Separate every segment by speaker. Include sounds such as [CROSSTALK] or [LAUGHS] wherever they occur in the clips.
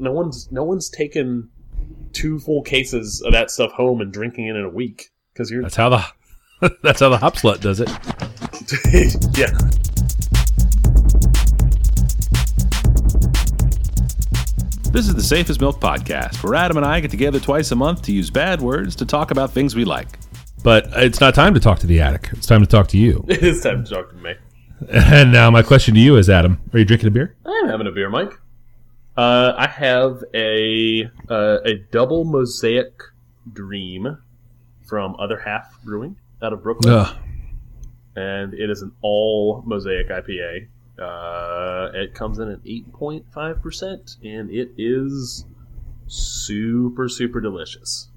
Speaker 1: no one's no one's taken two full cases of that stuff home and drinking it in a week because you're
Speaker 2: That's how the [LAUGHS] that's how the hop slut does it.
Speaker 1: [LAUGHS] yeah.
Speaker 2: This is the Safest Milk Podcast, where Adam and I get together twice a month to use bad words to talk about things we like. But it's not time to talk to the attic. It's time to talk to you. [LAUGHS]
Speaker 1: It is time to talk to me.
Speaker 2: and now my question to you is, Adam, are you drinking a beer?
Speaker 1: I'm having a beer, Mike. Uh, I have a uh, a double mosaic dream from Other Half Brewing out of Brooklyn, and it is an all mosaic IPA. Uh, it comes in at eight point five percent, and it is super super delicious.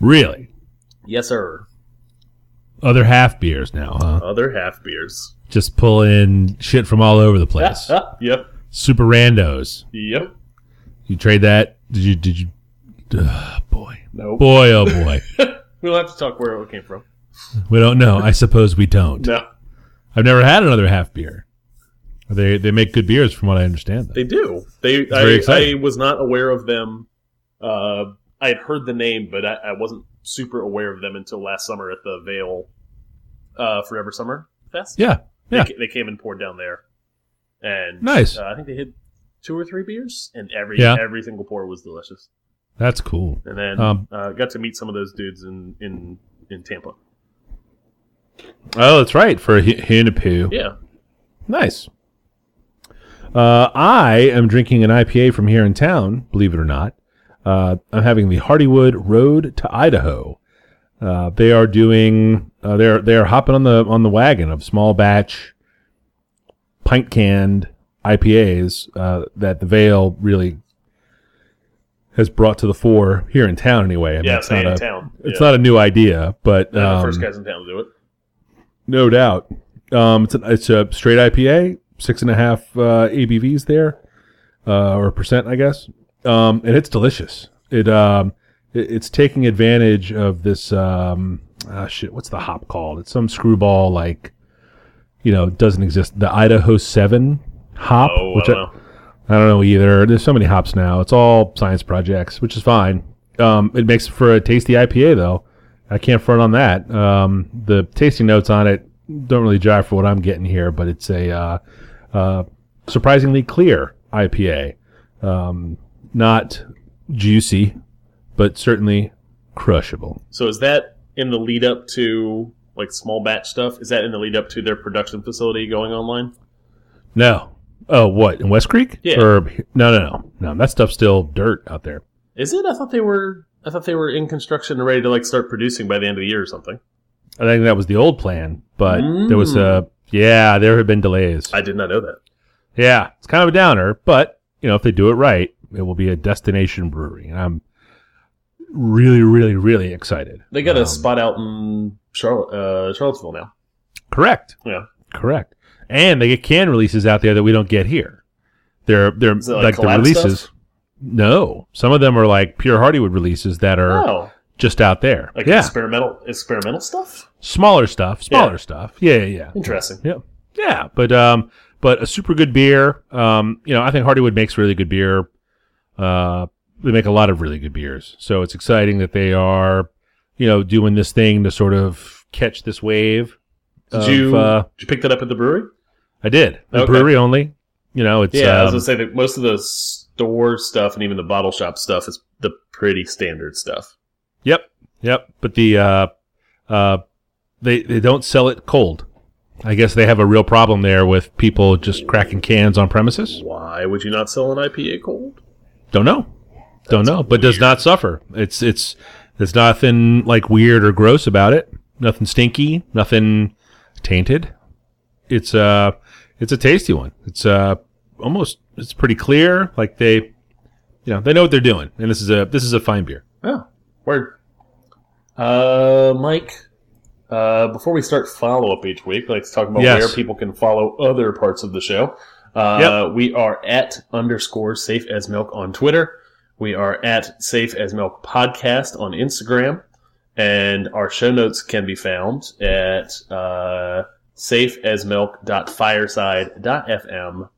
Speaker 2: really?
Speaker 1: Yes, sir.
Speaker 2: Other half beers now, huh?
Speaker 1: Other half beers.
Speaker 2: Just pull in shit from all over the place.
Speaker 1: yep.
Speaker 2: Super randos.
Speaker 1: Yep.
Speaker 2: You trade that? Did you? Did you? Ugh, boy,
Speaker 1: Nope.
Speaker 2: boy, oh boy.
Speaker 1: We'll have to talk where it came from.
Speaker 2: we don't know. I suppose we don't.
Speaker 1: No,
Speaker 2: I've never had another half beer. They they make good beers, from what I understand. though.
Speaker 1: they do. They.
Speaker 2: very
Speaker 1: I, I
Speaker 2: exciting.
Speaker 1: was not aware of them. Uh, I had heard the name, but I, I wasn't super aware of them until last summer at the Vale uh, Forever Summer Fest.
Speaker 2: Yeah,
Speaker 1: They
Speaker 2: yeah.
Speaker 1: ca- They, came and poured down there, and
Speaker 2: Nice.
Speaker 1: Uh, I think they hit two or three beers, and every
Speaker 2: Yeah.
Speaker 1: every single pour was delicious.
Speaker 2: that's cool.
Speaker 1: And then
Speaker 2: Um,
Speaker 1: uh, got to meet some of those dudes in in in Tampa.
Speaker 2: Oh, that's right for a Hunapu.
Speaker 1: Yeah.
Speaker 2: Nice. Uh, I am drinking an IPA from here in town, believe it or not. Uh, I'm having the Hardywood Road to Idaho. Uh, they are doing uh, they're they're hopping on the on the wagon of small batch pint canned IPAs uh, that the Vale really has brought to the fore here in town anyway. I mean,
Speaker 1: Yeah.
Speaker 2: it's
Speaker 1: stay
Speaker 2: not
Speaker 1: in
Speaker 2: a
Speaker 1: town.
Speaker 2: it's
Speaker 1: yeah.
Speaker 2: not a new idea, but
Speaker 1: They're the
Speaker 2: um,
Speaker 1: first guys in town to do it.
Speaker 2: no doubt. Um, it's, an, it's a straight IPA, six and a half uh, ABVs there, uh, or percent, I guess. Um, and it's delicious. It, um, it it's taking advantage of this. Um, ah, shit, what's the hop called? It's some screwball like, you know, doesn't exist. The Idaho Seven hop,
Speaker 1: Oh,
Speaker 2: which
Speaker 1: I
Speaker 2: I,
Speaker 1: don't know.
Speaker 2: I don't know either. There's so many hops now. It's all science projects, which is fine. Um, it makes for a tasty IPA though. I can't front on that. Um, the tasting notes on it don't really jive for what I'm getting here, but it's a uh, uh, surprisingly clear IPA. Um, not juicy, but certainly crushable.
Speaker 1: So is that in the lead up to like small batch stuff? Is that in the lead up to their production facility going online?
Speaker 2: No. Oh, what in West Creek?
Speaker 1: Yeah.
Speaker 2: Or no, no, no, no. That stuff's still dirt out there.
Speaker 1: Is it? I thought they were. I thought they were in construction and ready to like start producing by the end of the year or something.
Speaker 2: I think that was the old plan, but there was a
Speaker 1: Mm.
Speaker 2: yeah, there have been delays.
Speaker 1: I did not know that.
Speaker 2: yeah, it's kind of a downer, but you know, if they do it right, it will be a destination brewery, and I'm really, really, really excited.
Speaker 1: They got a
Speaker 2: Um,
Speaker 1: spot out in Charlotte, uh, Charlottesville now.
Speaker 2: Correct.
Speaker 1: Yeah.
Speaker 2: Correct. And they get can releases out there that we don't get here. They're they're
Speaker 1: Is it like
Speaker 2: like, the
Speaker 1: collab
Speaker 2: releases.
Speaker 1: stuff?
Speaker 2: No, some of them are like pure Hardywood releases that are
Speaker 1: Oh,
Speaker 2: just out there.
Speaker 1: like
Speaker 2: er, yeah,
Speaker 1: experimental experimental stuff.
Speaker 2: smaller stuff, smaller stuff. Yeah, yeah, yeah.
Speaker 1: Interesting.
Speaker 2: Yeah, yeah, but um, but a super good beer. Um, you know, I think Hardywood makes really good beer. Uh, they make a lot of really good beers, so it's exciting that they are, you know, doing this thing to sort of catch this wave.
Speaker 1: Did
Speaker 2: of,
Speaker 1: you
Speaker 2: Uh,
Speaker 1: did you pick that up at the brewery?
Speaker 2: I did. The
Speaker 1: Okay.
Speaker 2: brewery only. You know, it's
Speaker 1: Yeah, I was
Speaker 2: um,
Speaker 1: gonna say that most of the store stuff and even the bottle shop stuff is the pretty standard stuff.
Speaker 2: Yep, yep. But the uh, uh, they they don't sell it cold. I guess they have a real problem there with people just cracking cans on premises.
Speaker 1: Why would you not sell an IPA cold?
Speaker 2: Don't know. Don't know. But does not suffer. It's it's there's nothing like weird or gross about it. Nothing stinky. Nothing tainted. It's uh it's a tasty one. It's uh almost it's pretty clear. Like they you know, they know what they're doing. And this is a this is a fine beer.
Speaker 1: Oh, word. Uh, Mike, uh, before we start follow up each week, let's talk about
Speaker 2: Yes.
Speaker 1: where people can follow other parts of the show. Uh, We are at underscore safe as milk on Twitter. We are at safe as milk podcast on Instagram. And our show notes can be found at uh, safeasmilk.fireside.fm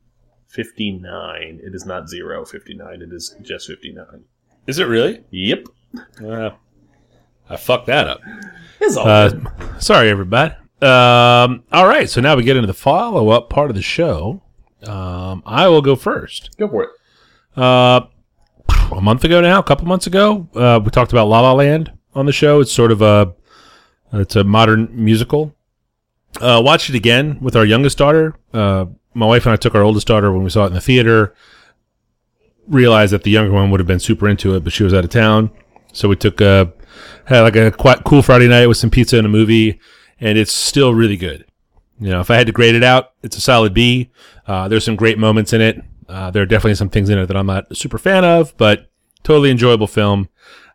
Speaker 1: 59. It is not 0 59. It is just 59.
Speaker 3: Is it really?
Speaker 1: Yep.
Speaker 3: Uh, I fucked that up.
Speaker 1: It's all
Speaker 2: Uh,
Speaker 1: good.
Speaker 2: sorry, everybody. Um, all right, so now we get into the follow up part of the show. Um, I will go first.
Speaker 1: Go for it.
Speaker 2: Uh, a month ago now, a couple months ago, uh, we talked about La La Land on the show. It's sort of a it's a modern musical. Uh, watched it again with our youngest daughter. Uh, my wife and I took our oldest daughter when we saw it in the theater. Realized that the younger one would have been super into it, but she was out of town, so we took a had like a quite cool Friday night with some pizza and a movie, and it's still really good. You know, if I had to grade it out, it's a solid B. Uh, there's some great moments in it. Uh, there are definitely some things in it that I'm not a super fan of, but totally enjoyable film.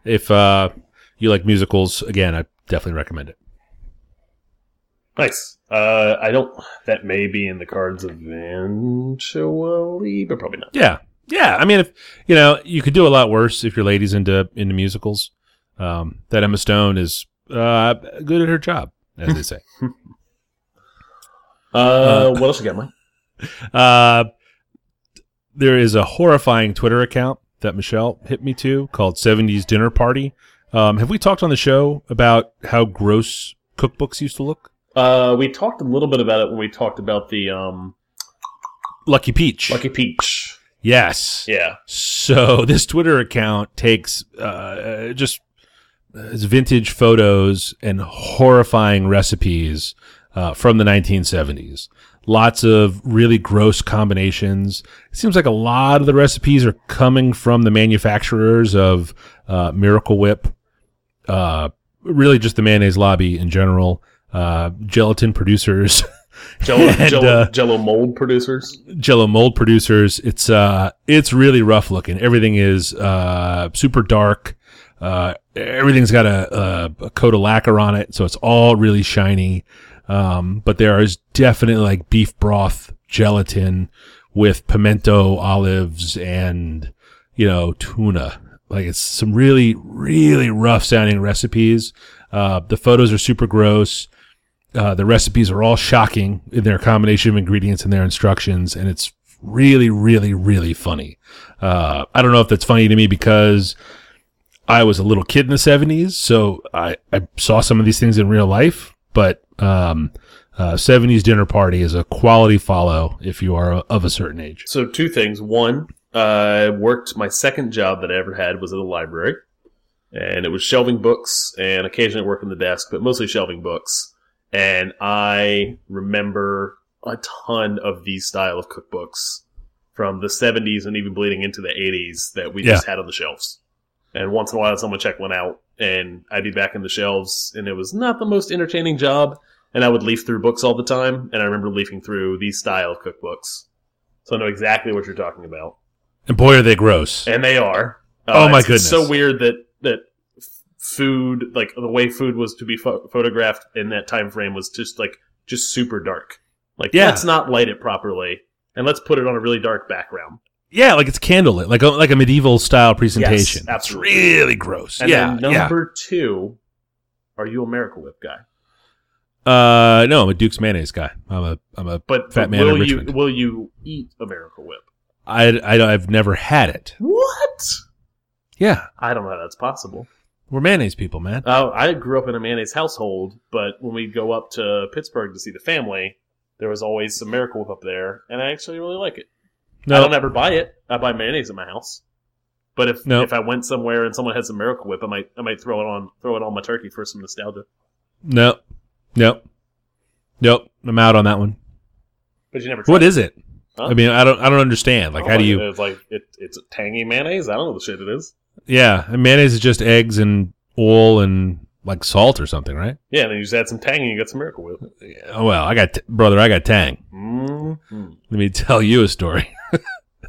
Speaker 2: If uh, you like musicals, again, I definitely recommend it.
Speaker 1: Nice. Uh, I don't. That may be in the cards eventually, but probably not.
Speaker 2: Yeah, yeah. I mean, if you know, you could do a lot worse if your lady's into into musicals. Um, that Emma Stone is uh, good at her job, as they say.
Speaker 1: Uh, what else you got, Mike?
Speaker 2: Uh, there is a horrifying Twitter account that Michelle hit me to called 70s Dinner Party. Um, have we talked on the show about how gross cookbooks used to look?
Speaker 1: Uh, we talked a little bit about it when we talked about the um,
Speaker 2: Lucky Peach.
Speaker 1: Lucky Peach.
Speaker 2: yes.
Speaker 1: Yeah.
Speaker 2: So [LAUGHS] this Twitter account takes uh, uh, just uh, it's vintage photos and horrifying recipes uh, from the 1970s. Lots of really gross combinations. It seems like a lot of the recipes are coming from the manufacturers of uh, Miracle Whip, uh, really just the mayonnaise lobby in general, uh, gelatin producers.
Speaker 1: Jello,
Speaker 2: [LAUGHS] And,
Speaker 1: Jello,
Speaker 2: uh,
Speaker 1: Jello mold producers.
Speaker 2: Jello mold producers. It's uh, it's really rough looking. Everything is uh, super dark. Uh, everything's got a, a, a coat of lacquer on it, so it's all really shiny. Um, but there is definitely like beef broth gelatin with pimento olives and you know tuna. Like it's some really really rough sounding recipes. Uh, the photos are super gross. Uh, the recipes are all shocking in their combination of ingredients and their instructions, and it's really, really, really funny. Uh, I don't know if that's funny to me because I was a little kid in the '70s, so I, I saw some of these things in real life. But um, uh, '70s dinner party is a quality follow if you are of a certain age.
Speaker 1: So two things. One, I worked my second job that I ever had was at a library, and it was shelving books and occasionally working the desk, but mostly shelving books. And I remember a ton of these style of cookbooks from the 70s and even bleeding into the 80s that we just had on the shelves. And once in a while, someone check one out, and I'd be back in the shelves, and it was not the most entertaining job. And I would leaf through books all the time, and I remember leafing through these style of cookbooks so I know exactly what you're talking about.
Speaker 2: And boy, are they gross!
Speaker 1: And they are. Uh,
Speaker 2: Oh my
Speaker 1: it's- It's so
Speaker 2: goodness.
Speaker 1: weird that that f- food, like the way food was to be pho photographed in that time frame, was just like just super dark. Like
Speaker 2: Yeah.
Speaker 1: let's not light it properly, and let's put it on a really dark background.
Speaker 2: Yeah, like it's candlelit, like a, like a medieval style presentation.
Speaker 1: Yes, absolutely.
Speaker 2: Really gross.
Speaker 1: And
Speaker 2: yeah,
Speaker 1: then number two, are you a Miracle Whip guy?
Speaker 2: yeah. Uh, no, I'm a Duke's mayonnaise guy. I'm a I'm a
Speaker 1: But
Speaker 2: Fat man in
Speaker 1: will you
Speaker 2: Richmond.
Speaker 1: will you eat a Miracle Whip?
Speaker 2: I, I have never had it.
Speaker 1: What?
Speaker 2: Yeah,
Speaker 1: I don't know how that's possible.
Speaker 2: we're mayonnaise people, man.
Speaker 1: Oh, I grew up in a mayonnaise household, but when we go up to Pittsburgh to see the family, there was always some Miracle Whip up there, and I actually really like it. I
Speaker 2: No,
Speaker 1: don't ever buy it. I buy mayonnaise at my house. But if
Speaker 2: No.
Speaker 1: if I went somewhere and someone had some Miracle Whip, I might I might throw it on throw it on my turkey for some nostalgia.
Speaker 2: no, no, nope. I'm out on that one.
Speaker 1: But you never. Tried
Speaker 2: What
Speaker 1: it.
Speaker 2: is it?
Speaker 1: Huh?
Speaker 2: I mean, I don't, I don't understand. Like,
Speaker 1: I don't
Speaker 2: how do you?
Speaker 1: It's like it, it's tangy mayonnaise. I don't know the shit it is.
Speaker 2: Yeah, and mayonnaise is just eggs and oil and like salt or something, right?
Speaker 1: Yeah, and then you just add some tang and you got some Miracle Whip.
Speaker 2: Oh well, I got brother, I got tang.
Speaker 1: Mm.
Speaker 2: Let me [LAUGHS] tell you a story.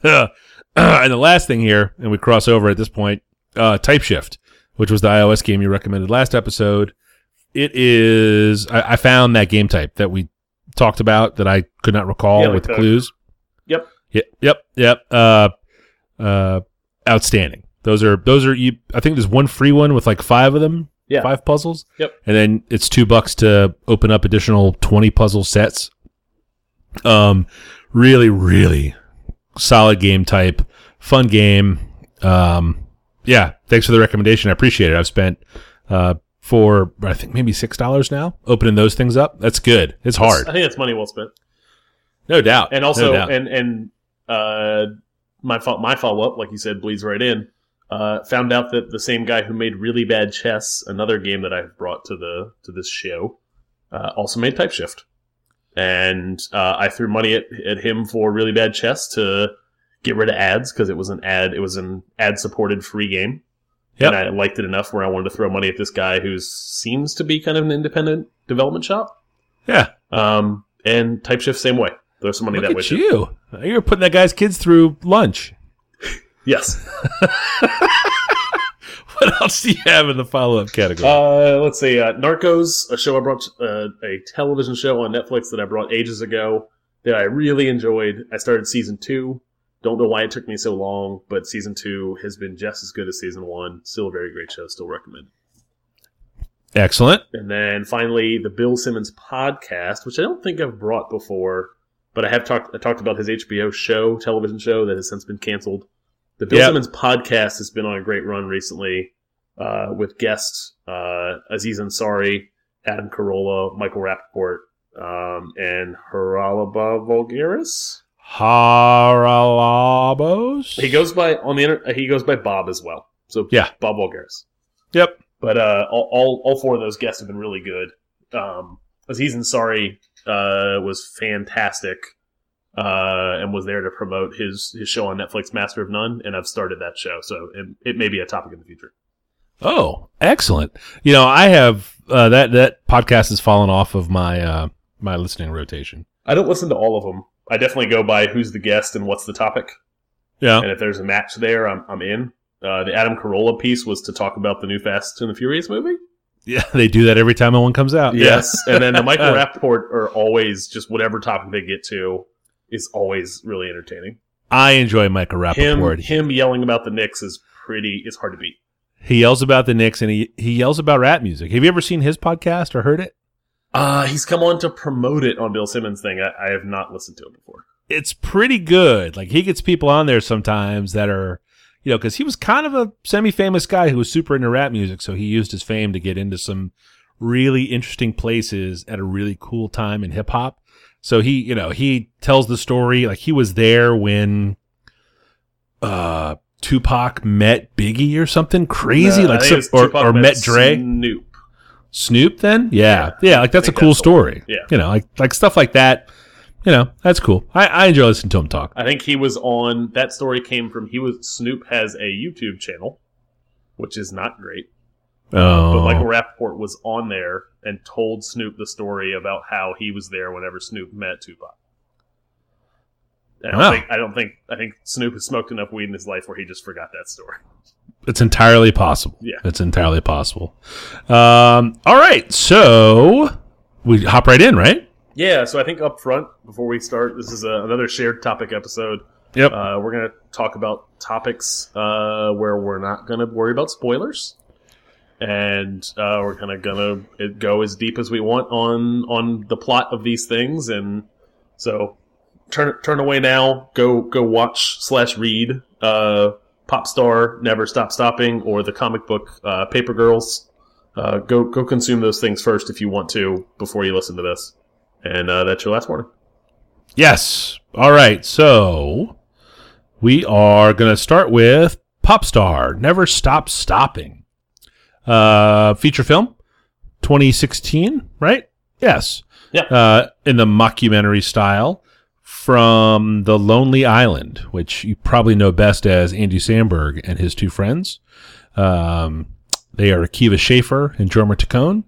Speaker 2: and the last thing here, and we cross over at this point, uh, Type Shift, which was the iOS game you recommended last episode. It is. I, I found that game type that we talked about that I could not recall
Speaker 1: Yeah, like
Speaker 2: with the
Speaker 1: the-
Speaker 2: clues.
Speaker 1: Yep.
Speaker 2: Yep. Yep. Yep. Uh, uh, outstanding. Those are those are. You, I think there's one free one with like five of them.
Speaker 1: Yeah.
Speaker 2: Five puzzles.
Speaker 1: Yep.
Speaker 2: And then it's two bucks to open up additional twenty puzzle sets. Um, really, really solid game type, fun game. Um, yeah, thanks for the recommendation. I appreciate it. I've spent uh, for I think maybe six dollars now opening those things up. That's good. It's
Speaker 1: I
Speaker 2: hard,
Speaker 1: think that's money well spent.
Speaker 2: no doubt.
Speaker 1: And
Speaker 2: No
Speaker 1: also,
Speaker 2: doubt.
Speaker 1: and and uh, my fo- my follow up, like you said, bleeds right in. Uh, found out that the same guy who made really bad chess, another game that I've brought to the to this show, uh, also made Type Shift, and uh, I threw money at at him for really bad chess to get rid of ads because it was an ad it was an ad supported free game.
Speaker 2: Yep.
Speaker 1: And I liked it enough where I wanted to throw money at this guy who seems to be kind of an independent development shop.
Speaker 2: yeah,
Speaker 1: Um, and Type Shift same way. Throw some money
Speaker 2: look
Speaker 1: that way
Speaker 2: at
Speaker 1: too.
Speaker 2: you. You're putting that guy's kids through lunch. [LAUGHS]
Speaker 1: Yes.
Speaker 2: What else do you have in the follow up category?
Speaker 1: Uh, let's see. Uh, Narcos, a show I brought, uh, a television show on Netflix that I brought ages ago that I really enjoyed. I started season two. Don't know why it took me so long, but season two has been just as good as season one. Still a very great show. Still recommend.
Speaker 2: Excellent.
Speaker 1: And then finally, the Bill Simmons podcast, which I don't think I've brought before, but I have talked I talked about his HBO show, television show that has since been canceled. The Bill
Speaker 2: Yep.
Speaker 1: Simmons podcast has been on a great run recently uh, with guests uh, Aziz Ansari, Adam Carolla, Michael Rappaport, um, and Haralaba Vulgaris.
Speaker 2: Haralabos.
Speaker 1: He goes by on the inter- he goes by Bob as well. So
Speaker 2: Yeah.
Speaker 1: Bob Vulgaris.
Speaker 2: Yep.
Speaker 1: But uh, all, all all four of those guests have been really good. Um, Aziz Ansari uh, was fantastic, uh, and was there to promote his his show on Netflix, Master of None, and I've started that show, so it, it may be a topic in the future.
Speaker 2: Oh, excellent. You know, I have uh, that that podcast has fallen off of my uh, my listening rotation.
Speaker 1: I don't listen to all of them. I definitely go by who's the guest and what's the topic,
Speaker 2: Yeah.
Speaker 1: and if there's a match there, I'm I'm in. Uh, the Adam Carolla piece was to talk about the new Fast and the Furious movie.
Speaker 2: Yeah, [LAUGHS] they do that every time one comes out.
Speaker 1: Yes, [LAUGHS] and then the Michael Rappaport are always just whatever topic they get to is always really entertaining.
Speaker 2: I enjoy Michael
Speaker 1: him
Speaker 2: Rappaport.
Speaker 1: him yelling about the Knicks is pretty. It's hard to beat.
Speaker 2: He yells about the Knicks and he, he yells about rap music. Have you ever seen his podcast or heard it?
Speaker 1: Uh, he's come on to promote it on Bill Simmons thing. I, I have not listened to it before.
Speaker 2: It's pretty good. Like he gets people on there sometimes that are, you know, because he was kind of a semi-famous guy who was super into rap music, so he used his fame to get into some really interesting places at a really cool time in hip hop. So he, you know, he tells the story like he was there when uh Tupac met Biggie or something crazy,
Speaker 1: Uh, I
Speaker 2: like
Speaker 1: think
Speaker 2: some,
Speaker 1: it was
Speaker 2: or,
Speaker 1: Tupac
Speaker 2: or met Dre.
Speaker 1: Snoop.
Speaker 2: Snoop then? Yeah. Yeah, like that's a
Speaker 1: think
Speaker 2: cool
Speaker 1: that's the
Speaker 2: story.
Speaker 1: Yeah.
Speaker 2: You know, like like stuff like that. You know, that's cool. I, I enjoy listening to him talk.
Speaker 1: I think he was on. That story came from he was Snoop has a YouTube channel, which is not great. But
Speaker 2: Oh.
Speaker 1: Michael Rappaport was on there and told Snoop the story about how he was there whenever Snoop met Tupac. And I don't
Speaker 2: Wow.
Speaker 1: think I don't think I think Snoop has smoked enough weed in his life where he just forgot that story.
Speaker 2: it's entirely possible.
Speaker 1: Yeah.
Speaker 2: It's entirely possible. Um all right. So we hop right in, right?
Speaker 1: Yeah, so I think up front, before we start, this is uh another shared topic episode.
Speaker 2: Yep.
Speaker 1: Uh, we're going to talk about topics uh, where we're not going to worry about spoilers. And uh, we're kind of going to go as deep as we want on on the plot of these things. And so turn turn away now. Go go watch slash read uh, Popstar, Never Stop Stopping, or the comic book uh, Paper Girls. Uh, go go consume those things first if you want to before you listen to this. And uh, that's your last warning.
Speaker 2: Yes. All right. So we are going to start with Popstar Never Stop Stopping. Uh, feature film 2016, right? Yes.
Speaker 1: Yeah.
Speaker 2: Uh, in the mockumentary style from The Lonely Island, which you probably know best as Andy Samberg and his two friends. Um, they are Akiva Schaffer and Jorma Tacone.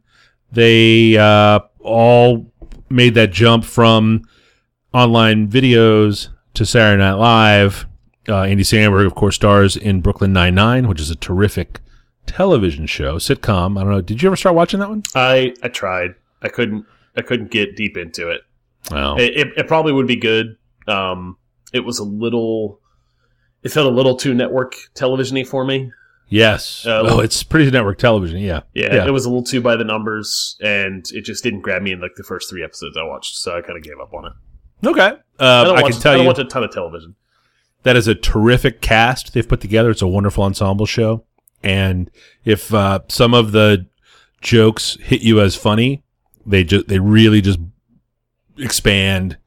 Speaker 2: They uh, all made that jump from online videos to Saturday Night Live. Uh, Andy Samberg, of course, stars in Brooklyn Nine Nine, which is a terrific television show sitcom. I don't know. Did you ever start watching that one?
Speaker 1: I I tried. I couldn't. I couldn't get deep into it.
Speaker 2: Wow.
Speaker 1: It, it, it probably would be good. Um, it was a little. It felt a little too network televisiony for me.
Speaker 2: yes.
Speaker 1: Uh,
Speaker 2: oh, it's pretty network television. Yeah.
Speaker 1: Yeah,
Speaker 2: Yeah.
Speaker 1: it was a little too by the numbers, and it just didn't grab me in like the first three episodes I watched. So I kind of gave up on it.
Speaker 2: Okay. Uh,
Speaker 1: I don't
Speaker 2: I,
Speaker 1: watch.
Speaker 2: can tell
Speaker 1: I don't
Speaker 2: you.
Speaker 1: watch a ton of television.
Speaker 2: That is a terrific cast they've put together. It's a wonderful ensemble show. And if uh, some of the jokes hit you as funny, they just they really just expand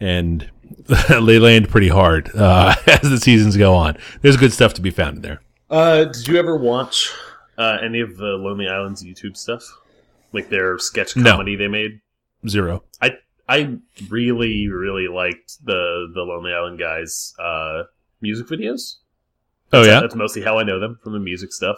Speaker 2: and [LAUGHS] they land pretty hard uh, [LAUGHS] as the seasons go on. There's good stuff to be found in there.
Speaker 1: Uh, did you ever watch uh, any of the Lonely Islands YouTube stuff? Like their sketch
Speaker 2: No.
Speaker 1: comedy they made?
Speaker 2: Zero.
Speaker 1: I really, really liked the the Lonely Island guys' uh, music videos.
Speaker 2: Oh yeah.
Speaker 1: That's mostly how I know them from the music stuff,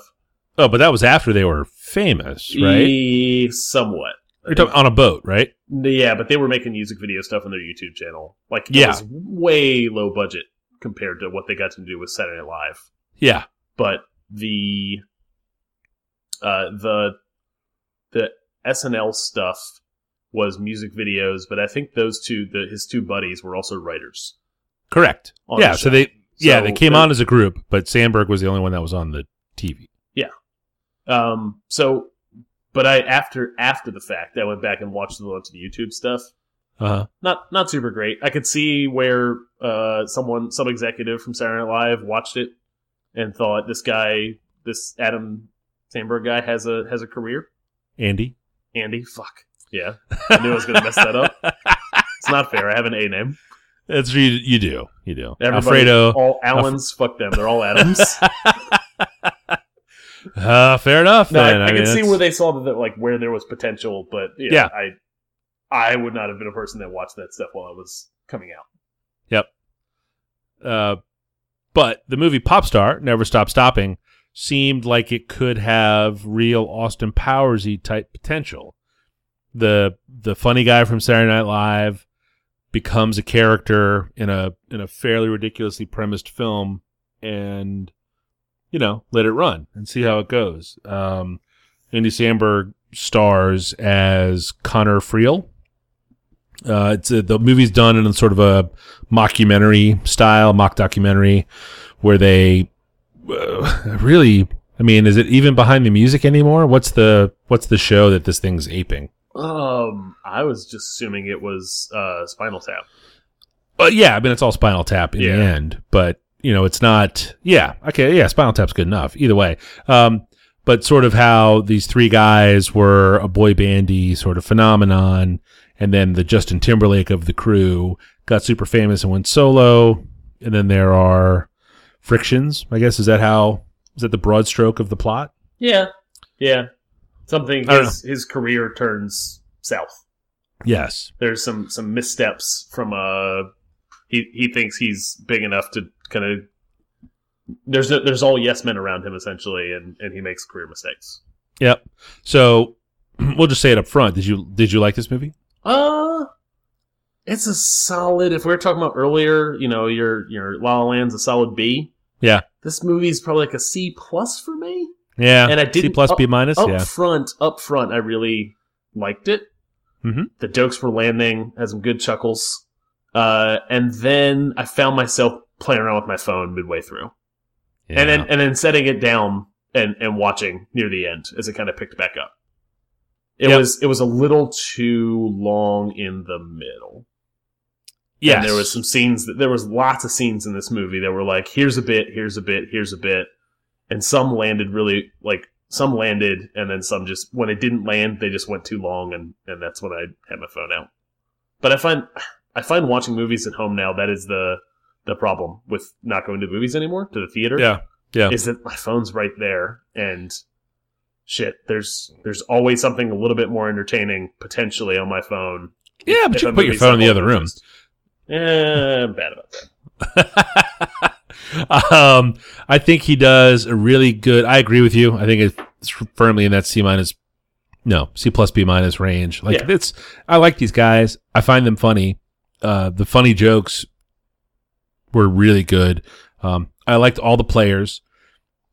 Speaker 2: Oh, but that was after they were famous, right?
Speaker 1: Eh, somewhat.
Speaker 2: You're talking on a boat, right?
Speaker 1: Yeah, but they were making music video stuff on their YouTube channel. Like, it
Speaker 2: Yeah.
Speaker 1: was way low budget compared to what they got to do with Saturday Night Live.
Speaker 2: Yeah.
Speaker 1: But the uh, the the SNL stuff was music videos, but I think those two, the, his two buddies, were also writers.
Speaker 2: Correct.
Speaker 1: On
Speaker 2: yeah.
Speaker 1: the
Speaker 2: So they yeah they
Speaker 1: So uh,
Speaker 2: came
Speaker 1: the-
Speaker 2: on as a group, but Sandberg was the only one that was on the TV.
Speaker 1: Um, so, but I after after the fact, I went back and watched a bunch of the YouTube stuff,
Speaker 2: Uh huh.
Speaker 1: not not super great. I could see where uh, someone, some executive from Saturday Night Live, watched it and thought this guy, this Adam Sandberg guy, has a has a career.
Speaker 2: Andy.
Speaker 1: Andy, fuck, yeah, I knew I was gonna mess that
Speaker 2: [LAUGHS]
Speaker 1: up. It's not fair. I have an A name.
Speaker 2: That's you. You do. You do.
Speaker 1: Everybody-
Speaker 2: Alfredo.
Speaker 1: All Allens, fuck them. They're all
Speaker 2: [LAUGHS]
Speaker 1: Adams.
Speaker 2: Uh, fair enough.
Speaker 1: No,
Speaker 2: then.
Speaker 1: I, I,
Speaker 2: mean,
Speaker 1: can see
Speaker 2: that's-
Speaker 1: where they saw that, like where there was potential, but yeah,
Speaker 2: Yeah.
Speaker 1: I I would not have been a person that watched that stuff while I was coming out.
Speaker 2: Uh, but the movie Popstar Never Stop Stopping seemed like it could have real Austin Powersy type potential. The the funny guy from Saturday Night Live becomes a character in a in a fairly ridiculously premised film and you know, let it run and see how it goes. Um Andy Samberg stars as Connor Friel. Uh, it's a, the movie's done in a sort of a mockumentary style, mock documentary, where they uh, [LAUGHS] really. I mean, is it even behind the music anymore? What's the what's the show that this thing's aping?
Speaker 1: Um, I was just assuming it was uh, Spinal Tap.
Speaker 2: But yeah, I mean, it's all Spinal Tap in
Speaker 1: Yeah.
Speaker 2: the end. But you know, it's not. Yeah, okay, yeah, Spinal Tap's good enough either way. Um, but sort of how these three guys were a boy bandy sort of phenomenon, and then the Justin Timberlake of the crew got super famous and went solo, and then there are frictions. I guess is that how is that the broad stroke of the plot?
Speaker 1: Yeah, yeah. Something
Speaker 2: I don't
Speaker 1: his, his career turns south.
Speaker 2: Yes.
Speaker 1: There's some some missteps from uh he he thinks he's big enough to kind of there's no, there's all yes men around him essentially, and and he makes career mistakes.
Speaker 2: Yep. So [CLEARS THROAT] we'll just say it up front. Did you did you like this movie?
Speaker 1: Uh it's a solid if we were talking about earlier, you know, your your La La Land's a solid B.
Speaker 2: Yeah.
Speaker 1: This movie's probably like a C plus for me.
Speaker 2: Yeah.
Speaker 1: And I
Speaker 2: C
Speaker 1: didn't-
Speaker 2: plus
Speaker 1: oh,
Speaker 2: B minus.
Speaker 1: Up
Speaker 2: yeah.
Speaker 1: front, up front, I really liked it.
Speaker 2: Mhm.
Speaker 1: The jokes were landing, had some good chuckles. Uh, and then I found myself playing around with my phone midway through. And then and then setting it down and, and watching near the end as it kind of picked back up. It
Speaker 2: Yep.
Speaker 1: was it was a little too long in the middle. Yeah,
Speaker 2: Yes.
Speaker 1: And there was some scenes that there was lots of scenes in this movie that were like, here's a bit, here's a bit, here's a bit, and some landed really like some landed, and then some just when it didn't land, they just went too long, and and that's when I had my phone out. But I find I find watching movies at home now that is the the problem with not going to movies anymore to the theater.
Speaker 2: Yeah. Yeah.
Speaker 1: is that my phone's right there and. Shit, there's there's always something a little bit more entertaining potentially on my phone.
Speaker 2: Yeah, but
Speaker 1: if
Speaker 2: you
Speaker 1: a
Speaker 2: can put your
Speaker 1: movie's
Speaker 2: phone in the
Speaker 1: not
Speaker 2: other room.
Speaker 1: Eh, I'm bad about that.
Speaker 2: [LAUGHS] um, I think he does a really good. I agree with you. I think it's firmly in that C minus, no C plus B minus range. Like
Speaker 1: Yeah.
Speaker 2: it's, I like these guys. I find them funny. Uh, the funny jokes were really good. Um, I liked all the players.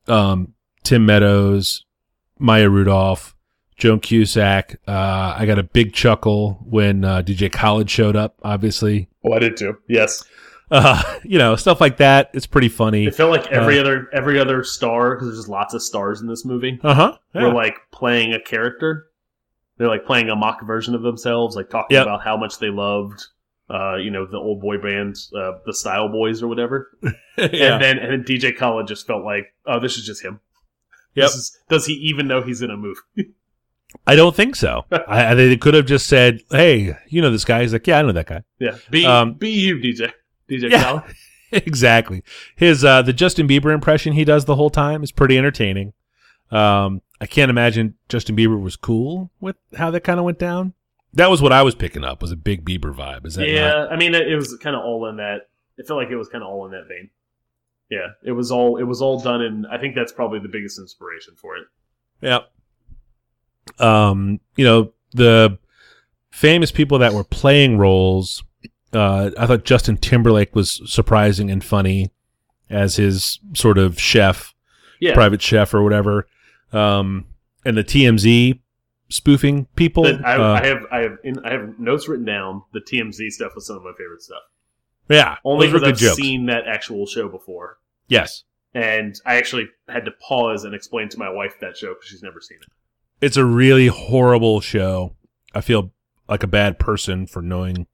Speaker 2: Um, Tim Meadows, Maya Rudolph, Joan Cusack. Uh, I got a big chuckle when uh, DJ Khaled showed up. Obviously,
Speaker 1: Oh, I did too. Yes,
Speaker 2: uh, [LAUGHS] you know, stuff like that. It's pretty funny.
Speaker 1: it felt like every
Speaker 2: uh,
Speaker 1: other every other star because there's just lots of stars in this movie.
Speaker 2: Uh huh. [LAUGHS]
Speaker 1: Were like playing a character. They're like playing a mock version of themselves, like talking
Speaker 2: Yep.
Speaker 1: about how much they loved uh, you know, the old boy bands, uh, the Style Boys or whatever.
Speaker 2: yeah.
Speaker 1: And then and then DJ Khaled just felt like, oh, this is just him.
Speaker 2: Yep.
Speaker 1: This is, does he even know he's in a movie?
Speaker 2: I don't
Speaker 1: [LAUGHS]
Speaker 2: think so. I, I- they could have just said, "Hey, you know this guy?" He's like, "Yeah, I know that guy." [LAUGHS]
Speaker 1: Yeah. Be
Speaker 2: Um,
Speaker 1: be you, DJ. DJ
Speaker 2: Yeah.
Speaker 1: Khaled.
Speaker 2: exactly. His uh, the Justin Bieber impression he does the whole time is pretty entertaining. Um, I can't imagine Justin Bieber was cool with how that kind of went down. That was what I was picking up was a big Bieber vibe. Is that
Speaker 1: Yeah.
Speaker 2: not-
Speaker 1: I mean, it, it was kind of all in that. It felt like it was kind of all in that vein. Yeah. It was all. It was all done, and I think that's probably the biggest inspiration for it.
Speaker 2: Yep. Um, you know, the famous people that were playing roles, uh, I thought Justin Timberlake was surprising and funny as his sort of chef,
Speaker 1: Yeah.
Speaker 2: private chef or whatever. Um, and the TMZ spoofing people.
Speaker 1: But I,
Speaker 2: uh,
Speaker 1: I have I have in, I have notes written down. The TMZ stuff was some of my favorite stuff.
Speaker 2: yeah.
Speaker 1: Only
Speaker 2: those were
Speaker 1: because
Speaker 2: good
Speaker 1: I've
Speaker 2: jokes.
Speaker 1: seen that actual show before,
Speaker 2: yes.
Speaker 1: and I actually had to pause and explain to my wife that show because she's never seen it.
Speaker 2: It's a really horrible show. I feel like a bad person for knowing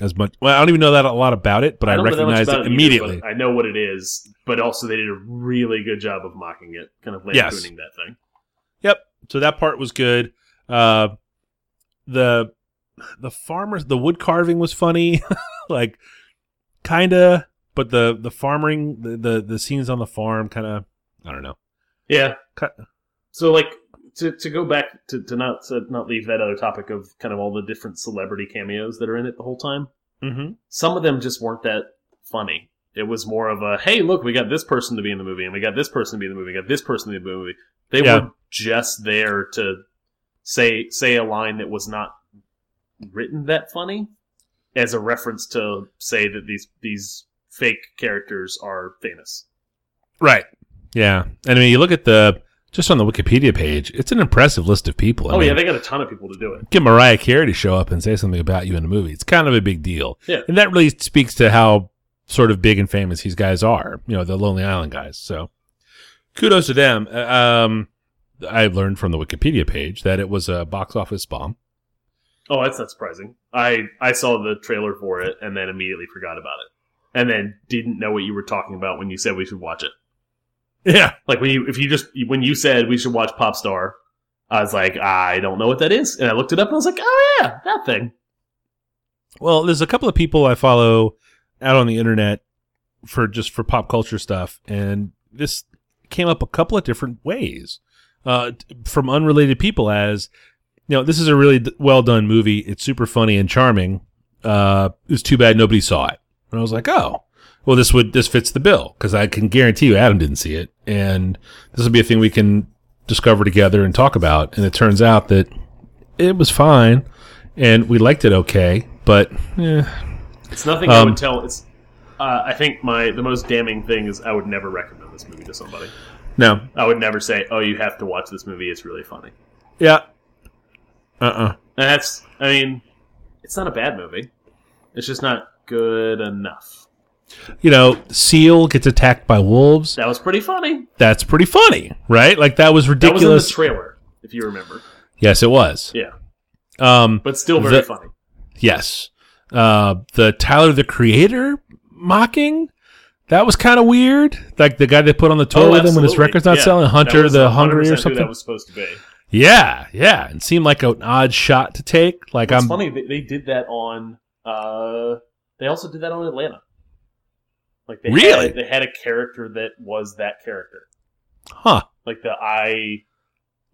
Speaker 2: as much. Well, I don't even know that a lot about it, but I,
Speaker 1: don't know that much
Speaker 2: recognized
Speaker 1: about
Speaker 2: it
Speaker 1: either,
Speaker 2: immediately.
Speaker 1: but I know what it is, but also they did a really good job of mocking it, kind of lampoon
Speaker 2: Yes.
Speaker 1: tuning that thing.
Speaker 2: Yep. So that part was good. Uh, the the farmers the wood carving was funny, [LAUGHS] like kinda. But the the farming the the, the scenes on the farm kind of I don't know.
Speaker 1: Yeah.
Speaker 2: Cut.
Speaker 1: So like to to go back to to not to not leave that other topic of kind of all the different celebrity cameos that are in it the whole time.
Speaker 2: Mm-hmm.
Speaker 1: some of them just weren't that funny. It was more of a, hey, look, we got this person to be in the movie, and we got this person to be in the movie, we got this person to be in the movie. They
Speaker 2: Yeah.
Speaker 1: were just there to say say a line that was not written that funny as a reference to say that these these fake characters are famous.
Speaker 2: Right. Yeah. And I mean, you look at the just on the Wikipedia page, it's an impressive list of people. I
Speaker 1: oh
Speaker 2: mean,
Speaker 1: yeah, they got a ton of people to do it.
Speaker 2: get Mariah Carey to show up and say something about you in a movie. It's kind of a big deal.
Speaker 1: Yeah.
Speaker 2: And that really speaks to how sort of big and famous these guys are, you know, the Lonely Island guys. So kudos to them. Uh, Um, I learned from the Wikipedia page that it was a box office bomb.
Speaker 1: Oh, that's not surprising. I I saw the trailer for it and then immediately forgot about it, and then didn't know what you were talking about when you said we should watch it.
Speaker 2: Yeah.
Speaker 1: like when you if you just when you said we should watch Popstar, I was like, I don't know what that is, and I looked it up and I was like, oh yeah, that thing.
Speaker 2: Well, there's a couple of people I follow out on the internet for just for pop culture stuff, and this came up a couple of different ways uh, t- from unrelated people as you know this is a really d- well done movie. It's super funny and charming. Uh, it's too bad nobody saw it. And I was like, oh, well this would this fits the bill because I can guarantee you Adam didn't see it, and this would be a thing we can discover together and talk about. And it turns out that it was fine and we liked it okay, but eh,
Speaker 1: It's nothing I
Speaker 2: Um,
Speaker 1: would tell. It's uh, I think my the most damning thing is I would never recommend this movie to somebody.
Speaker 2: no,
Speaker 1: I would never say, oh, you have to watch this movie. It's really funny.
Speaker 2: yeah, uh, uh
Speaker 1: And that's I mean, it's not a bad movie. It's just not good enough.
Speaker 2: you know, seal gets attacked by wolves.
Speaker 1: That was pretty funny.
Speaker 2: That's pretty funny, right? Like that was
Speaker 1: That was in the
Speaker 2: ridiculous.
Speaker 1: trailer, if you remember.
Speaker 2: yes, it was.
Speaker 1: Yeah,
Speaker 2: Um,
Speaker 1: but still very
Speaker 2: The-
Speaker 1: funny.
Speaker 2: yes, uh, the Tyler the Creator mocking. That was kind of weird. Like the guy they put on the tour
Speaker 1: Oh,
Speaker 2: with him when his
Speaker 1: absolutely.
Speaker 2: record's not
Speaker 1: Yeah.
Speaker 2: selling,
Speaker 1: That
Speaker 2: Hunter
Speaker 1: was uh,
Speaker 2: the
Speaker 1: 100%
Speaker 2: Hungry or
Speaker 1: who
Speaker 2: something.
Speaker 1: that was supposed to be.
Speaker 2: yeah, yeah, and seemed like an odd shot to take. Like
Speaker 1: It's
Speaker 2: I'm
Speaker 1: funny they, they did that on. Uh, they also did that on Atlanta. Like they
Speaker 2: Really?
Speaker 1: had, they had a character that was that character,
Speaker 2: huh?
Speaker 1: like the I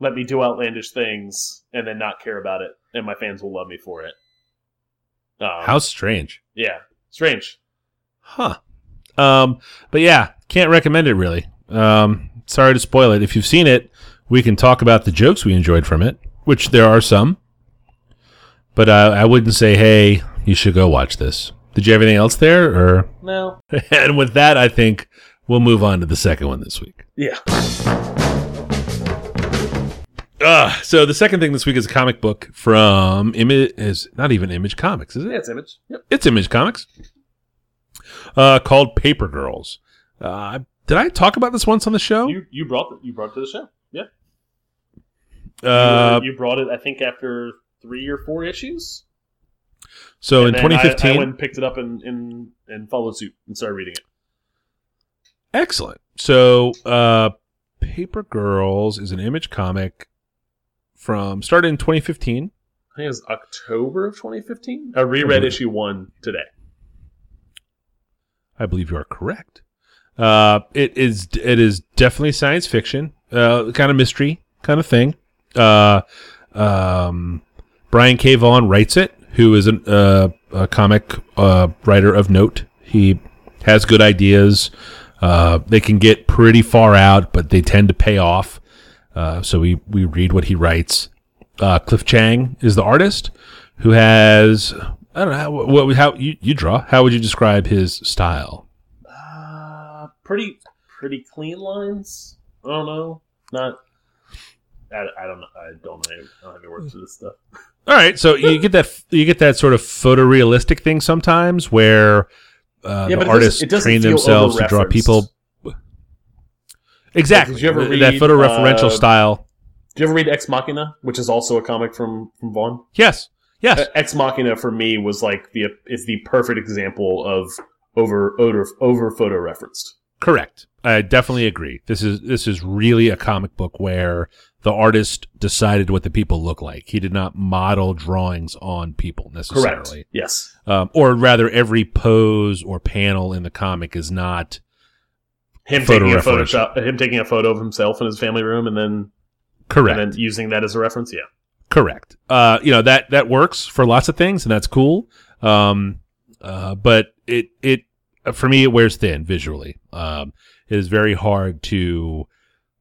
Speaker 1: let me do outlandish things and then not care about it, and my fans will love me for it. Um,
Speaker 2: How strange.
Speaker 1: Yeah, strange.
Speaker 2: Huh. Um, but yeah, can't recommend it really. Um, sorry to spoil it. If you've seen it, we can talk about the jokes we enjoyed from it, which there are some. But uh, I wouldn't say, hey, you should go watch this. Did you have anything else there? Or [LAUGHS]
Speaker 1: No.
Speaker 2: and with that, I think we'll move on to the second one this week. [LAUGHS]
Speaker 1: Yeah.
Speaker 2: Uh, so the second thing this week is a comic book from Image. Is not even Image Comics, is it?
Speaker 1: Yeah, it's image. Yep.
Speaker 2: it's Image Comics, uh, called Paper Girls. Uh, did I talk about this once on the show?
Speaker 1: You you brought the, you brought it to the show. Yeah.
Speaker 2: uh,
Speaker 1: you, you brought it. I think after three or four issues.
Speaker 2: So
Speaker 1: And
Speaker 2: in
Speaker 1: then I-
Speaker 2: 2015,
Speaker 1: I, went and picked it up and, and and followed suit and started reading it.
Speaker 2: Excellent. So, uh, Paper Girls is an image comic from started in 2015.
Speaker 1: I think it was October of 2015. I
Speaker 2: Mhm.
Speaker 1: reread issue one today.
Speaker 2: I believe you are correct. Uh, it is it is definitely science fiction, uh, kind of mystery kind of thing. Uh, um, Brian K. Vaughan writes it, who is an, uh, a comic uh, writer of note. He has good ideas. Uh, they can get pretty far out, but they tend to pay off. Uh, so we, we read what he writes. Uh, Cliff Chang is the artist who has I don't know how, what how you, you draw. How would you describe his style?
Speaker 1: Uh, pretty pretty clean lines. I don't know. Not. I, I don't know. I don't know. I don't have any words for this stuff.
Speaker 2: All right, so you get that you get that sort of photorealistic thing sometimes where uh, the artists train themselves to draw people exactly
Speaker 1: you ever
Speaker 2: th- that
Speaker 1: read,
Speaker 2: photoreferential
Speaker 1: uh,
Speaker 2: style.
Speaker 1: Do you ever read Ex Machina, which is also a comic from from
Speaker 2: [LAUGHS]
Speaker 1: Vaughn?
Speaker 2: Yes, yes.
Speaker 1: Uh, Ex Machina for me was like the is the perfect example of over over over photo referenced.
Speaker 2: Correct. I definitely agree. This is this is really a comic book where the artist decided what the people look like. He did not model drawings on people necessarily.
Speaker 1: Correct. Yes.
Speaker 2: Um, or rather, every pose or panel in the comic is not
Speaker 1: Him
Speaker 2: Photo
Speaker 1: taking a
Speaker 2: reference.
Speaker 1: Photoshop, him taking a photo of himself in his family room, and then
Speaker 2: correct.
Speaker 1: and then using that as a reference. Yeah.
Speaker 2: Correct. Uh, you know that that works for lots of things, and that's cool. Um, uh, but it it for me it wears thin visually. Um, it is very hard to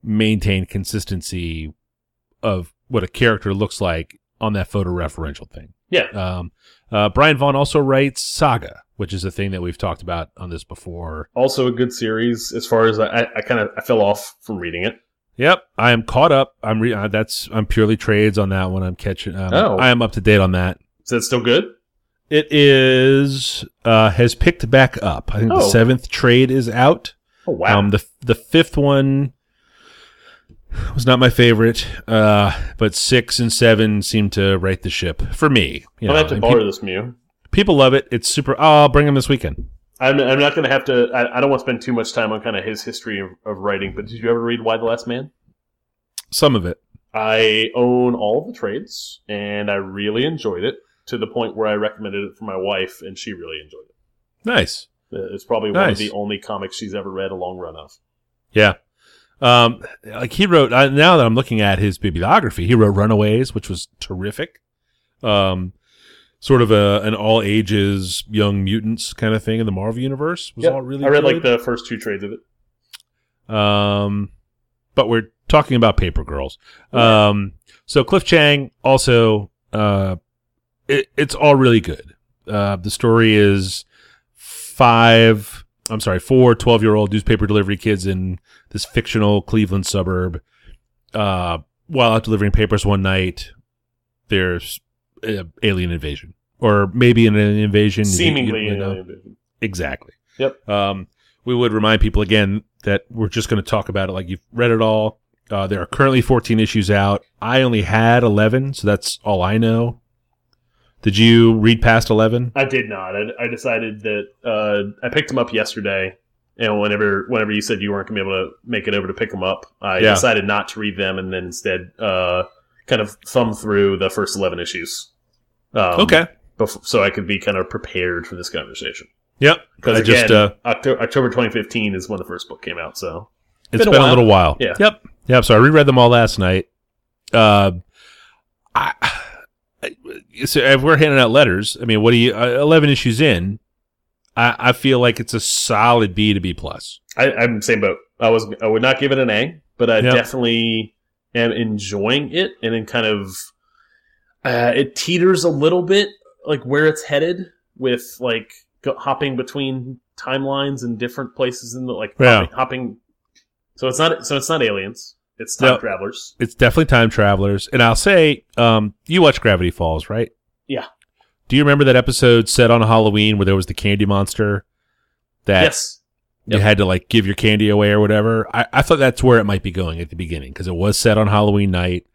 Speaker 2: maintain consistency of what a character looks like on that photoreferential thing.
Speaker 1: Yeah.
Speaker 2: Um, uh, Brian Vaughn also writes Saga, which is a thing that we've talked about on this before.
Speaker 1: Also a good series as far as I, I, I kind of I fell off from reading it.
Speaker 2: Yep, I am caught up. I'm re- uh, that's I'm purely trades on that one. I'm catching. Um,
Speaker 1: Oh.
Speaker 2: I am up to date on that.
Speaker 1: Is that still good?
Speaker 2: It is uh, has picked back up. I think the
Speaker 1: Oh.
Speaker 2: seventh trade is out.
Speaker 1: Oh wow.
Speaker 2: Um, the the fifth one was not my favorite, uh, but six and seven seem to right the ship for me.
Speaker 1: I'm
Speaker 2: You know,
Speaker 1: gonna have to
Speaker 2: and
Speaker 1: borrow
Speaker 2: peop-
Speaker 1: this from you.
Speaker 2: people love it. It's super. Oh, I'll bring them this weekend.
Speaker 1: I'm, I'm not gonna have to. I, I don't want to spend too much time on kind of his history of, of writing. But did you ever read Why the Last Man?
Speaker 2: Some of it.
Speaker 1: I own all the trades, and I really enjoyed it to the point where I recommended it for my wife, and she really enjoyed it.
Speaker 2: Nice.
Speaker 1: Uh, It's probably one
Speaker 2: Nice.
Speaker 1: of the only comics she's ever read a long run of.
Speaker 2: Yeah. Um, like he wrote. Uh, now that I'm looking at his bibliography, he wrote Runaways, which was terrific. Um, sort of a an all ages Young Mutants kind of thing in the Marvel universe was
Speaker 1: Yep.
Speaker 2: all really.
Speaker 1: I read like
Speaker 2: good.
Speaker 1: the first two trades of it.
Speaker 2: Um, but we're talking about Paper Girls. Um, so Cliff Chang also. Uh, it, it's all really good. Uh, the story is five. I'm sorry, four 12 year old newspaper delivery kids in this fictional Cleveland suburb. Uh, while out delivering papers one night, there's uh, alien invasion, or maybe an alien invasion. You- you-
Speaker 1: Seemingly, uh,
Speaker 2: you know.
Speaker 1: alien vision.
Speaker 2: Exactly.
Speaker 1: Yep.
Speaker 2: Um, we would remind people again that we're just going to talk about it like you've read it all. Uh, there are currently 14 issues out. I only had 11, so that's all I know. Did you read past 11?
Speaker 1: I did not. I, I decided that uh, I picked him up yesterday, and whenever whenever you said you weren't gonna be able to make it over to pick him up, I
Speaker 2: Yeah.
Speaker 1: decided not to read them, and then instead uh, kind of thumb through the first eleven issues. Um, bef- so I could be kind of prepared for this conversation.
Speaker 2: Yep.
Speaker 1: Because
Speaker 2: I
Speaker 1: again,
Speaker 2: just, uh,
Speaker 1: Octo- October 2015 is when the first book came out. So
Speaker 2: It's been, a, little while.
Speaker 1: Yeah.
Speaker 2: Yep. Yep. So I reread them all last night. Uh, I, I, so if we're handing out letters, I mean, what do you? Uh, Eleven issues in, I, I feel like it's a solid B to B plus.
Speaker 1: I, I'm the same boat. I was I would not give it an A, but I
Speaker 2: Yeah.
Speaker 1: definitely am enjoying it, and then kind of uh, it teeters a little bit like where it's headed with like go- hopping between timelines and different places in the like
Speaker 2: Yeah.
Speaker 1: hopping, hopping. So it's not so it's not aliens. It's time
Speaker 2: No.
Speaker 1: travelers.
Speaker 2: it's definitely time travelers and i'll say um, you watch gravity falls right
Speaker 1: Yeah.
Speaker 2: do you remember that episode set on halloween where there was the candy monster that
Speaker 1: yes.
Speaker 2: you
Speaker 1: Yep.
Speaker 2: had to like give your candy away or whatever i, I thought that's where it might be going at the beginning because it was set on halloween night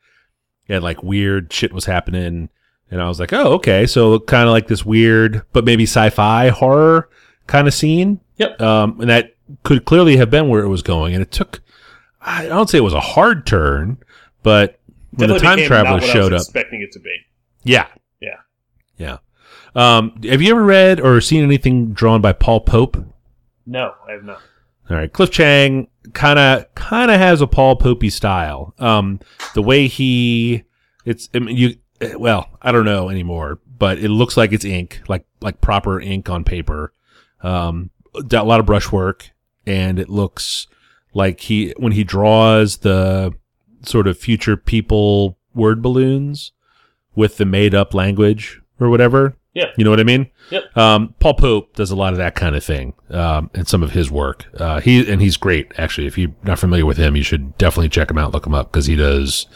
Speaker 2: and like weird shit was happening And I was like, oh, okay. So kind of like this weird, but maybe sci-fi horror kind of scene.
Speaker 1: Yep.
Speaker 2: Um, and that could clearly have been where it was going. And it took, I don't say it was a hard turn, but when the
Speaker 1: Definitely
Speaker 2: time
Speaker 1: became
Speaker 2: traveler
Speaker 1: not what
Speaker 2: showed
Speaker 1: I
Speaker 2: up,
Speaker 1: was expecting it to be.
Speaker 2: yeah.
Speaker 1: Yeah.
Speaker 2: Yeah. Um, have you ever read or seen anything drawn by Paul Pope?
Speaker 1: No, I have not.
Speaker 2: All right, Cliff Chang kind of kind of has a Paul Popey style. Um, the way he, it's I mean, you. eh, Well, I don't know anymore, but it looks like it's ink, like like proper ink on paper. Um, d- a lot of brushwork, and it looks like he when he draws the sort of future people word balloons with the made up language or whatever.
Speaker 1: Yeah.
Speaker 2: you know what I mean.
Speaker 1: Yep.
Speaker 2: Um, Paul Pope does a lot of that kind of thing, um, in some of his work. Uh, he and he's great actually. If you're not familiar with him, you should definitely check him out, look him up because he does.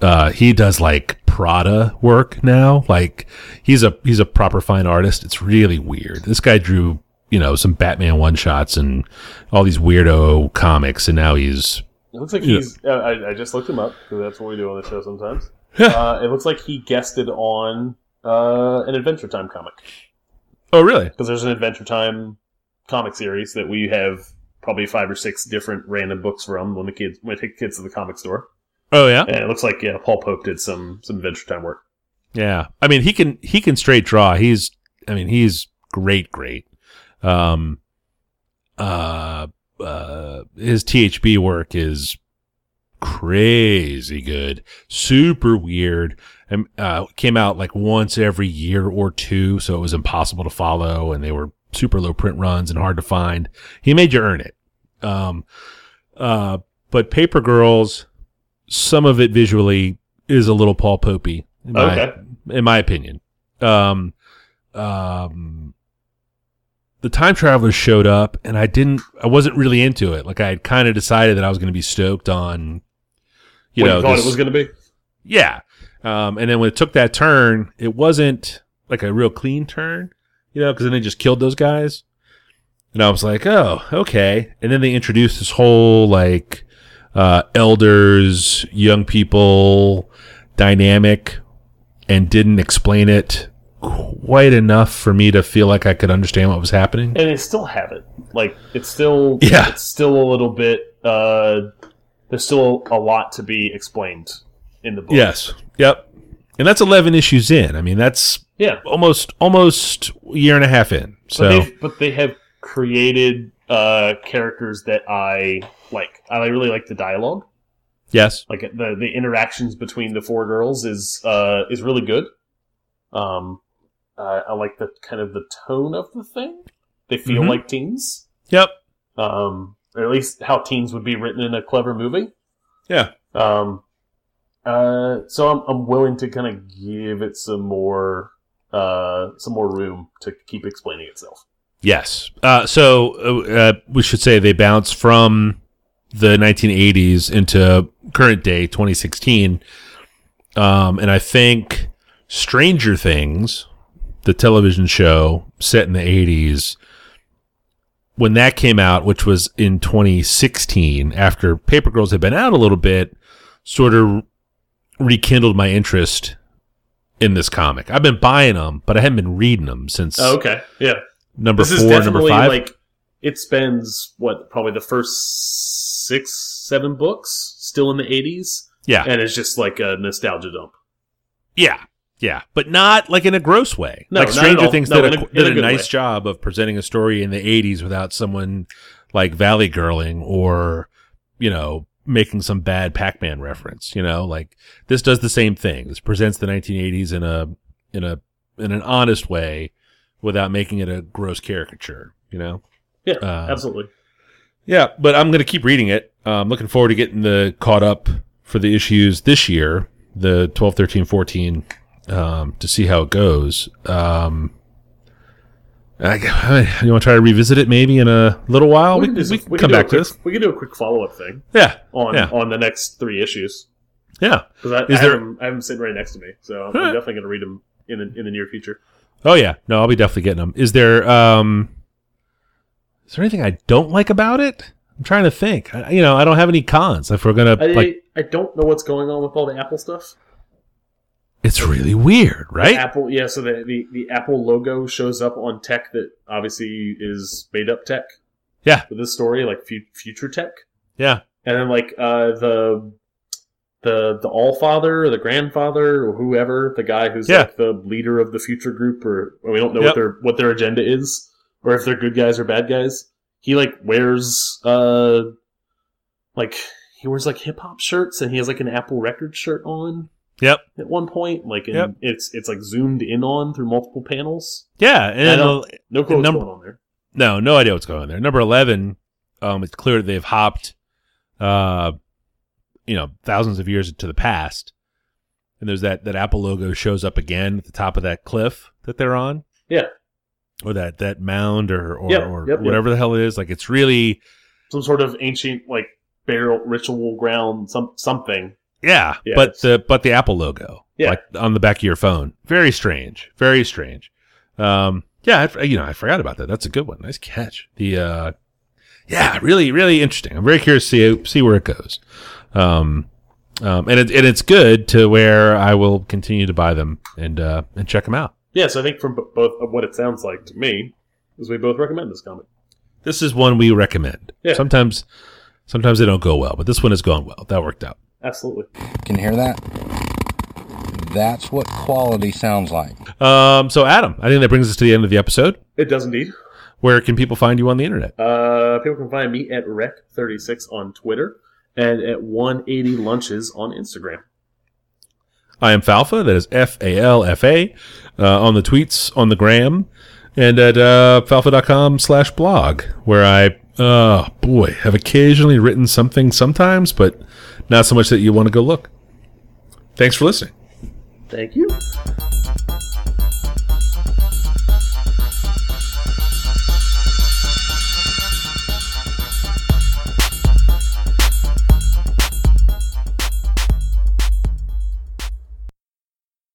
Speaker 2: Uh, he does like Prada work now. Like he's a he's a proper fine artist. It's really weird. This guy drew you know some Batman one shots and all these weirdo comics, and now he's
Speaker 1: It looks like
Speaker 2: Yeah.
Speaker 1: he's. Uh, I, I just looked him up because that's what we do on the show sometimes. uh, it looks like he guested on uh, an Adventure Time comic
Speaker 2: oh really
Speaker 1: because there's an Adventure Time comic series that we have probably five or six different random books from when the kids when I take kids to the comic store.
Speaker 2: oh yeah
Speaker 1: And it looks like yeah, Paul Pope did some some Adventure Time work.
Speaker 2: Yeah. I mean, he can he can straight draw. He's I mean, he's great, great. Um uh uh his THB work is crazy good. Super weird. And uh came out like once every year or two, so it was impossible to follow and they were super low print runs and hard to find. He made you earn it. Um uh but Paper Girls some of it visually is a little Paul Popey. in my-
Speaker 1: Okay,
Speaker 2: in my opinion. Um, um, the time travelers showed up, and I didn't. I wasn't really into it. Like I had kind of decided that I was going to be stoked on, you
Speaker 1: what
Speaker 2: know,
Speaker 1: you thought
Speaker 2: this-
Speaker 1: it was going to be.
Speaker 2: yeah. Um, and then when it took that turn, it wasn't like a real clean turn, you know, because then they just killed those guys. And I was like, oh, okay. And then they introduced this whole like uh, elders, young people dynamic and didn't explain it quite enough for me to feel like I could understand what was happening.
Speaker 1: and they still have it. Like it's still
Speaker 2: Yeah.
Speaker 1: it's still a little bit. Uh, there's still a lot to be explained in the book.
Speaker 2: Yes. Yep. And that's 11 issues in. I mean, that's
Speaker 1: yeah.
Speaker 2: almost, almost a year and a half in. So.
Speaker 1: But, they've, but they have created uh, characters that I like. I really like the dialogue.
Speaker 2: Yes.
Speaker 1: Like the the interactions between the four girls is uh, is really good. Um, uh, I like the kind of the tone of the thing. They feel
Speaker 2: Mhm.
Speaker 1: like teens.
Speaker 2: Yep.
Speaker 1: um, or at least how teens would be written in a clever movie.
Speaker 2: Yeah.
Speaker 1: Um, uh, so I'm, I'm willing to kind of give it some more uh, some more room to keep explaining itself.
Speaker 2: Yes. Uh, so uh, uh, we should say they bounce from the 1980s into current day 2016. Um, and I think Stranger Things, the television show set in the 80s, when that came out, which was in 2016, after Paper Girls had been out a little bit, sort of rekindled my interest in this comic. I've been buying them, but I haven't been reading them since
Speaker 1: okay, yeah.
Speaker 2: number
Speaker 1: This is
Speaker 2: four, number
Speaker 1: definitely
Speaker 2: five.
Speaker 1: like it spends what probably the first six seven books still in the 80s,
Speaker 2: yeah,
Speaker 1: and it's just like a nostalgia dump.
Speaker 2: yeah, yeah, but not like in a gross way.
Speaker 1: No,
Speaker 2: like
Speaker 1: not at
Speaker 2: Stranger
Speaker 1: all.
Speaker 2: Things
Speaker 1: No,
Speaker 2: did,
Speaker 1: in
Speaker 2: a,
Speaker 1: a- in a
Speaker 2: did a,
Speaker 1: good
Speaker 2: nice
Speaker 1: way.
Speaker 2: job of presenting a story in the '80s without someone like Valley Girling or you know making some bad Pac-Man reference. You know, like this does the same thing. This presents the 1980s in a in a in an honest way without making it a gross caricature. You know,
Speaker 1: Yeah,
Speaker 2: Uh,
Speaker 1: absolutely.
Speaker 2: Yeah, but I'm going to keep reading it. Uh, I'm looking forward to getting the caught up for the issues this year, the 12, 13, 14, um, to see how it goes. Um, I, you want to try to revisit it maybe in a little while? We,
Speaker 1: can do
Speaker 2: we
Speaker 1: some-
Speaker 2: can come
Speaker 1: do a
Speaker 2: back to
Speaker 1: quick-
Speaker 2: this.
Speaker 1: We can do a quick follow up thing
Speaker 2: Yeah,
Speaker 1: on
Speaker 2: Yeah.
Speaker 1: on the next three issues.
Speaker 2: yeah.
Speaker 1: Because I,
Speaker 2: Is
Speaker 1: I,
Speaker 2: there-
Speaker 1: have 'em- I have them sitting right next to me, so I'm, I'm
Speaker 2: Huh.
Speaker 1: definitely going to read them in the, in the near future.
Speaker 2: Oh yeah, no, I'll be definitely getting them. Is there um, is there anything I don't like about it? I'm trying to think. I, you know, I don't have any cons. If we're gonna
Speaker 1: I,
Speaker 2: like,
Speaker 1: I don't know what's going on with all the Apple stuff.
Speaker 2: It's really weird, right?
Speaker 1: Apple, yeah. So the, the the Apple logo shows up on tech that obviously is made up tech.
Speaker 2: Yeah.
Speaker 1: for this story, like fu- future tech,
Speaker 2: Yeah.
Speaker 1: and then like uh, the the the All Father or the Grandfather or whoever the guy who's
Speaker 2: Yeah.
Speaker 1: like the leader of the future group, or, or we don't know
Speaker 2: Yep.
Speaker 1: what their what their agenda is, or if they're good guys or bad guys. He like wears uh like he wears like hip hop shirts and he has like an Apple record shirt on
Speaker 2: Yep.
Speaker 1: at one point. Like and
Speaker 2: Yep.
Speaker 1: it's it's like zoomed in on through multiple panels.
Speaker 2: Yeah, and
Speaker 1: I
Speaker 2: then
Speaker 1: don't-
Speaker 2: the-
Speaker 1: No clue what's
Speaker 2: number-
Speaker 1: going on there.
Speaker 2: no, no idea what's going on there. Number eleven, um, it's clear that they've hopped, uh, you know, thousands of years into the past, and there's that that Apple logo shows up again at the top of that cliff that they're on.
Speaker 1: Yeah.
Speaker 2: or that that mound or or,
Speaker 1: Yep,
Speaker 2: or
Speaker 1: yep, yep.
Speaker 2: whatever the hell it is. Like it's really
Speaker 1: Some sort of ancient like burial ritual ground, some something.
Speaker 2: yeah,
Speaker 1: Yeah,
Speaker 2: but
Speaker 1: it's-
Speaker 2: the but the Apple logo,
Speaker 1: Yeah.
Speaker 2: like on the back of your phone. Very strange. Very strange. Um, yeah, I, you know, I forgot about that. That's a good one. Nice catch. The uh, yeah, really, really interesting. I'm very curious to see, see where it goes. Um, um, and it, and it's good to where I will continue to buy them and uh, and check them out.
Speaker 1: Yeah, so I think from b- both of what it sounds like to me is we both recommend this comic.
Speaker 2: This is one we recommend.
Speaker 1: Yeah.
Speaker 2: Sometimes sometimes they don't go well, but this one has gone well. That worked out.
Speaker 1: Absolutely.
Speaker 4: Can you hear that? That's what quality sounds like.
Speaker 2: Um, so Adam, I think that brings us to the end of the episode.
Speaker 1: It does indeed.
Speaker 2: Where can people find you on the internet?
Speaker 1: Uh, people can find me at Rec36 on Twitter and at 180 Lunches on Instagram.
Speaker 2: I am Falfa. That is F A L F A. Uh, on the tweets, on the gram, and at uh, falfa.com slash blog, where I, uh, boy, have occasionally written something sometimes, but not so much that you want to go look. Thanks for listening.
Speaker 1: Thank you.